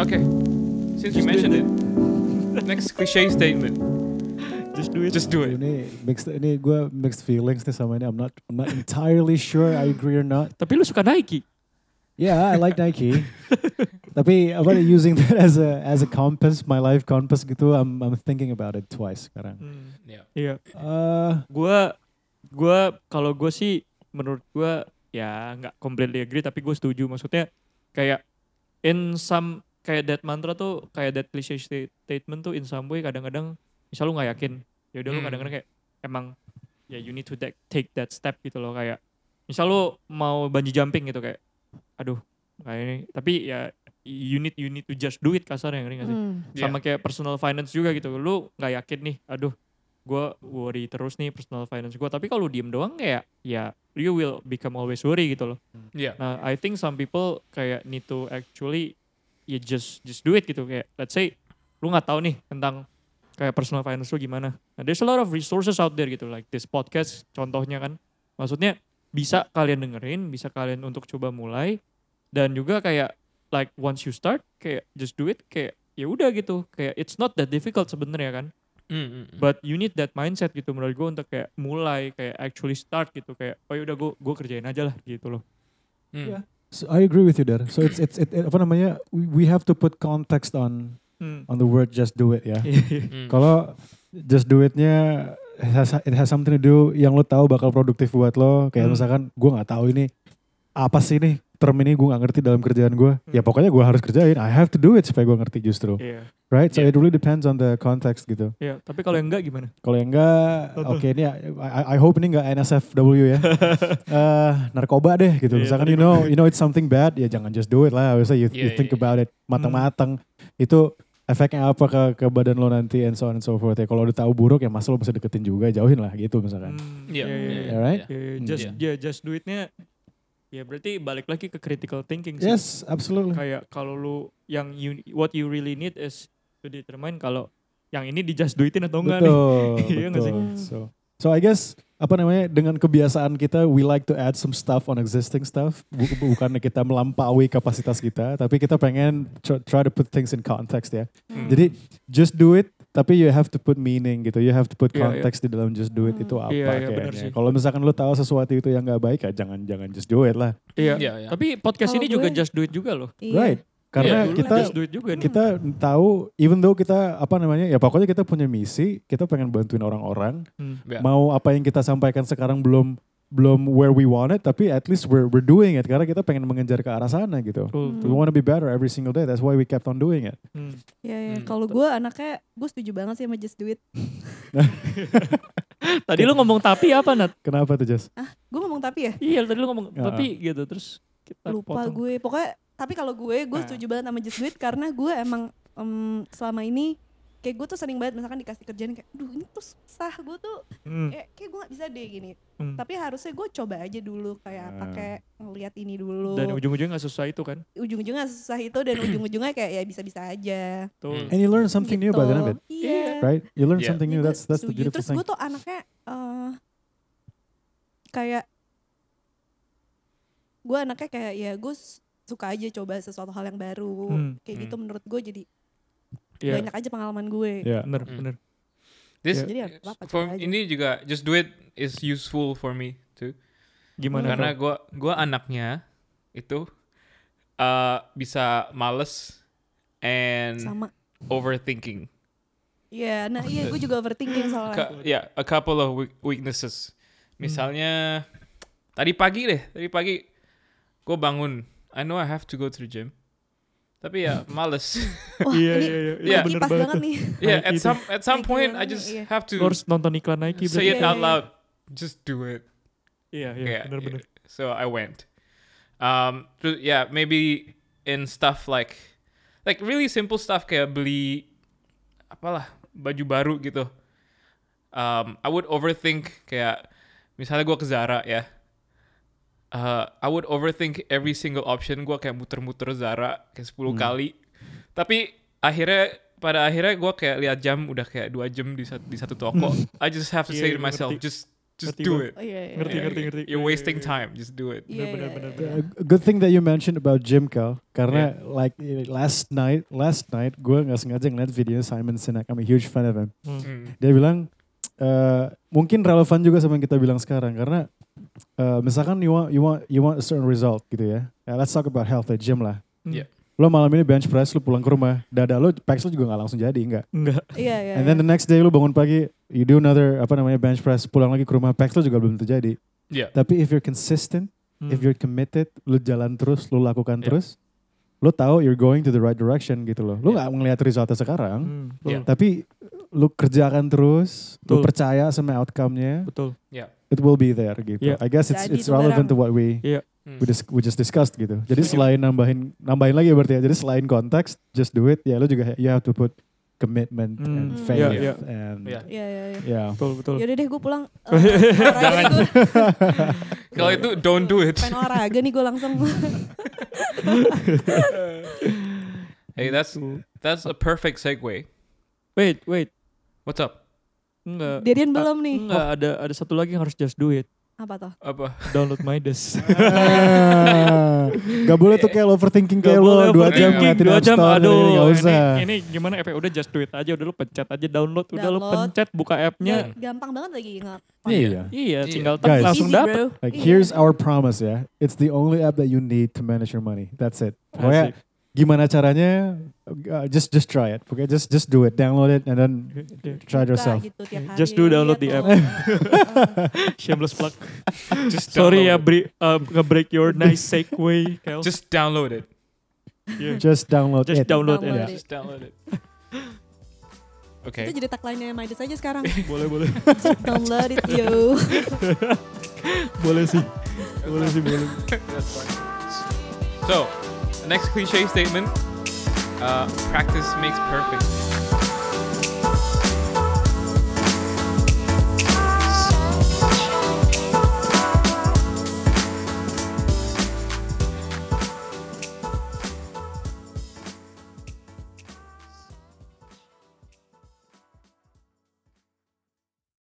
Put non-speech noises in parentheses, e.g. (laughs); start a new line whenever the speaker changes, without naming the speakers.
Okay. Since you mentioned it, next cliche statement.
Just do it.
Just do it.
Ini mixed ini gue mixed feelings nih sama ini. I'm not I'm not entirely sure I agree or not.
Tapi lu suka Nike.
Yeah, I like (laughs) Nike. Tapi about using that as a as a compass, my life compass gitu, I'm I'm thinking about it twice sekarang.
Yeah.
Iya.
Uh,
Gua gua kalau gue sih menurut gua ya nggak completely agree tapi gue setuju maksudnya kayak in some kayak that mantra tuh kayak that cliche sta- statement tuh in some way kadang-kadang misal lu nggak yakin ya udah lu
Hmm.
kadang-kadang kayak emang ya you need to that- take that step gitu loh kayak misal lu mau bungee jumping gitu kayak aduh kayak ini tapi ya you need you need to just do it kasar yang ngerti nggak sih sama kayak personal finance juga gitu lu nggak yakin nih aduh gua worry terus nih personal finance gua tapi kalau diem doang kayak ya you will become always worry gitu loh
Yeah.
nah I think some people kayak need to actually ya just just do it gitu kayak let's say lu nggak tahu nih tentang kayak personal finance lu gimana nah there's a lot of resources out there gitu like this podcast contohnya kan maksudnya bisa kalian dengerin bisa kalian untuk coba mulai dan juga kayak like once you start kayak just do it kayak ya udah gitu kayak it's not that difficult sebenarnya kan
Mm, mm, mm.
but you need that mindset gitu menurut gue untuk kayak mulai kayak actually start gitu kayak oh ya udah gue gue kerjain aja lah gitu loh
Mm.
Yeah. so I agree with you there. So it's it's it, apa namanya? We, we have to put context on
hmm. (laughs)
on the word just do it ya.
Mm.
Iya,
Kalau just do it-nya it has, it has something to do yang lo tahu bakal produktif buat lo. Kayak
Hmm.
misalkan gue nggak tahu ini apa sih nih term ini gue nggak ngerti dalam kerjaan gue. Ya pokoknya gue harus kerjain. I have to do it supaya gue ngerti justru.
Hmm. Iya,
Right? So
Yeah.
it really depends on the context gitu.
iya. Tapi kalau yang enggak gimana?
Kalau yang enggak,
Betul.
oke ini ya, I, I hope ini enggak NSFW
(laughs)
ya. Eh narkoba deh gitu.
Iya,
Misalkan
tadi
you know, you know it's something bad, ya jangan just do it lah. Harusnya you, you
Iya,
think
iya, Hmm.
about it matang-matang. Itu efeknya apa ke, ke badan lo nanti and so on and so forth. Ya kalau udah tahu buruk ya masa lo bisa deketin juga, jauhin lah gitu misalkan.
Hmm,
Yeah.
iya, iya,
Yeah.
iya.
Alright.
Yeah.
Iya, iya,
Hmm.
Just
Iya.
ya just do it-nya ya berarti balik lagi ke critical thinking sih.
Yes, absolutely.
kayak kalau lu yang you, what you really need is to determine kalau yang ini di just do it-in atau Oh, enggak nih.
betul,
(laughs) Iya nggak sih?
betul. So, so I guess apa namanya dengan kebiasaan kita we like to add some stuff on existing stuff Bu- bukan kita melampaui kapasitas kita tapi kita pengen tr- try to put things in context ya
Mm.
Hmm.
jadi just do it tapi you have to put meaning gitu you have to
Iya,
put
iya.
context di dalam just do it itu apa
Iya, iya, benar
kayaknya
sih.
kalau misalkan lu tahu sesuatu itu yang nggak baik ya jangan jangan just do it lah
Iya.
Iya, iya.
Tapi podcast
Kalau
ini juga
gue-
just do it juga loh.
Iya,
right
Iya, dulu
karena Eh, kita
just do it juga nih.
kita tahu even though kita apa namanya ya pokoknya kita punya misi kita pengen bantuin orang-orang
Hmm.
Yeah.
mau apa yang kita sampaikan sekarang belum belum where we want it tapi at least we're we're doing it karena kita pengen mengejar ke arah sana gitu.
Betul,
We
betul.
want to be better every single day. That's why we kept on doing it.
Hmm.
Iya, iya.
Hmm.
Kalau gue anaknya, gue setuju banget sih sama Just Do It.
Tadi lu ngomong tapi apa Nat?
Kenapa tuh Jess?
Gue ngomong tapi ya,
Iya tadi lu ngomong
Heeh.
tapi gitu terus kita
lupa
potong.
gue. Pokoknya, tapi kalau gue, gue
Nah.
setuju banget sama Just Do It karena gue emang em, selama ini kayak gue tuh sering banget misalkan dikasih kerjaan kayak, duh ini tuh susah, gue tuh
Hmm,
kayak, kayak gue gak bisa deh gini.
hmm.
Tapi harusnya gue coba aja dulu kayak apa
Nah.
kayak ngeliat ini dulu.
Dan ujung-ujungnya gak susah itu kan.
ujung-ujungnya susah itu dan ujung-ujungnya kayak ya bisa-bisa aja.
Tuh.
Hmm.
And you learn something new about it,
Gitu. Iya.
right? You learn
Yeah.
something new.
Iya,
That's that's the
setuju.
beautiful
Terus
thing.
gue tuh anaknya eh, kayak gue anaknya kayak ya gue s- suka aja coba sesuatu hal yang baru
Hmm,
kayak
hmm.
gitu menurut gue jadi
Iya.
banyak aja pengalaman gue.
Yeah.
Bener,
Hmm.
bener.
This
Jadi nggak apa-apa,
for
coba aja.
ini juga just do it is useful for me too.
Gimana
Karena
tuh?
gua gua anaknya itu uh, bisa males and
Sama.
overthinking.
Iya, nah iya gue juga overthinking soalnya.
Ka- yeah, a couple of weak- weaknesses. Misalnya tadi pagi deh, tadi pagi gue bangun. I know I have to go to the gym. Tapi ya males.
Wah,
Iya,
ini
iya, iya.
ini
Iya,
bener
kipas
banget
banget nih. (laughs)
yeah,
Nike
at
tuh.
some at some
Nike
point I
banget,
just
iya.
have to
Lu harus nonton iklan
say
Nike
it
berarti.
Iya,
out
iya.
loud. Just do it.
Iya, iya,
Yeah,
bener,
yeah.
bener.
So I went. Um, so yeah, maybe in stuff like like really simple stuff kayak beli apalah baju baru gitu. Um, I would overthink kayak misalnya gua ke Zara ya. Uh, I would overthink every single option. Gua kayak muter-muter Zara kayak 10
Hmm.
kali. Tapi akhirnya pada akhirnya gua kayak lihat jam udah kayak dua jam di satu, di satu toko. I just have to
Iya,
say
iya,
to myself,
ngerti.
just Just
Ngerti
do
gua.
it.
Oh iya,
Yeah,
Ngerti,
iya.
ngerti, ngerti.
You're
Iya, iya,
wasting
iya.
time. Just do it.
Iya,
Bener,
iya,
bener,
iya.
A good thing that you mentioned about Jim Cal karena like last night last night gue nggak sengaja ngeliat video Simon Sinek I'm a huge fan of him
Hmm.
Mm.
dia bilang eh, mungkin relevan juga sama yang kita bilang sekarang karena eh, misalkan you want you want you want a certain result gitu ya Ya, let's talk about health at gym lah
Iya.
Hmm.
lo malam ini bench press lo pulang ke rumah dada lo pecs lo juga nggak langsung jadi nggak
Enggak.
Iya, iya.
and then the next day lo bangun pagi you do another apa namanya bench press pulang lagi ke rumah pecs lo juga belum terjadi
Yeah.
tapi if you're consistent
Hmm.
if you're committed, lu jalan terus, lu lakukan
Yeah.
terus, lu tahu you're going to the right direction gitu loh. Lu
Yeah.
nggak ngelihat resultnya sekarang,
Hmm,
Yeah.
betul,
tapi lu kerjakan terus, lu
Betul.
percaya sama outcome-nya,
Betul.
it will be there gitu.
Yeah.
I guess it's
Jadi
it's
itu
relevant
barang.
to what we
Mm.
we, dis- we just discussed gitu. Jadi
Setuju.
selain nambahin nambahin lagi ya berarti ya. Jadi selain konteks, just do it. Ya lu juga you have to put commitment
Hmm.
and
Hmm.
faith
Yeah, yeah.
and
Yeah.
Iya, iya,
(laughs)
iya.
(laughs)
yeah.
Betul, betul.
Yaudah deh gue
(laughs)
pulang. Eh,
Jangan.
olahraga nih gua.
Kalau itu don't do it.
Pengen olahraga nih gue
(laughs)
langsung.
Hey, that's
Betul.
that's a perfect segue.
Wait, wait.
What's up?
Enggak.
Darian belum nih.
Enggak, ada ada satu lagi yang harus just do it.
Apa toh?
Apa?
Download (laughs) Midas.
Ah, gak boleh tuh kayak lo overthinking kayak
Gak boleh
lo dua jam
overthinking,
ngeliatin
dua
App
jam,
Store,
aduh.
ini nggak
ini-
usah.
Ini, gimana app udah just do it aja, udah lu pencet aja download, udah lu
Download.
pencet buka
Ya,
appnya.
gampang banget lagi nggak?
Iya.
Iya,
Iya.
tinggal
Guys.
tak langsung
Easy, bro.
dapet.
Like
Iya.
here's our promise ya. It's the only app that you need to manage your money. That's it. Pokoknya
Asik.
gimana caranya? uh, just just try it. Pokoknya just just do it. Download it and then try it
Buka
yourself.
Gitu, tiap hari.
Just do download the
Lihat
app.
Iya. tuh.
Shameless (laughs) plug.
(laughs) Just download
Sorry ya,
it.
bri, uh, nge-break your nice segue, Kel.
Just download it.
Yeah.
Just download
Just
it.
(laughs) download it.
Download it.
Just download it.
Itu
Okay.
jadi tagline-nya Midas aja
(laughs)
sekarang.
(laughs) Boleh, boleh.
Just download it yo.
Boleh sih. Boleh sih, boleh.
So, next cliche statement. Uh, practice makes perfect.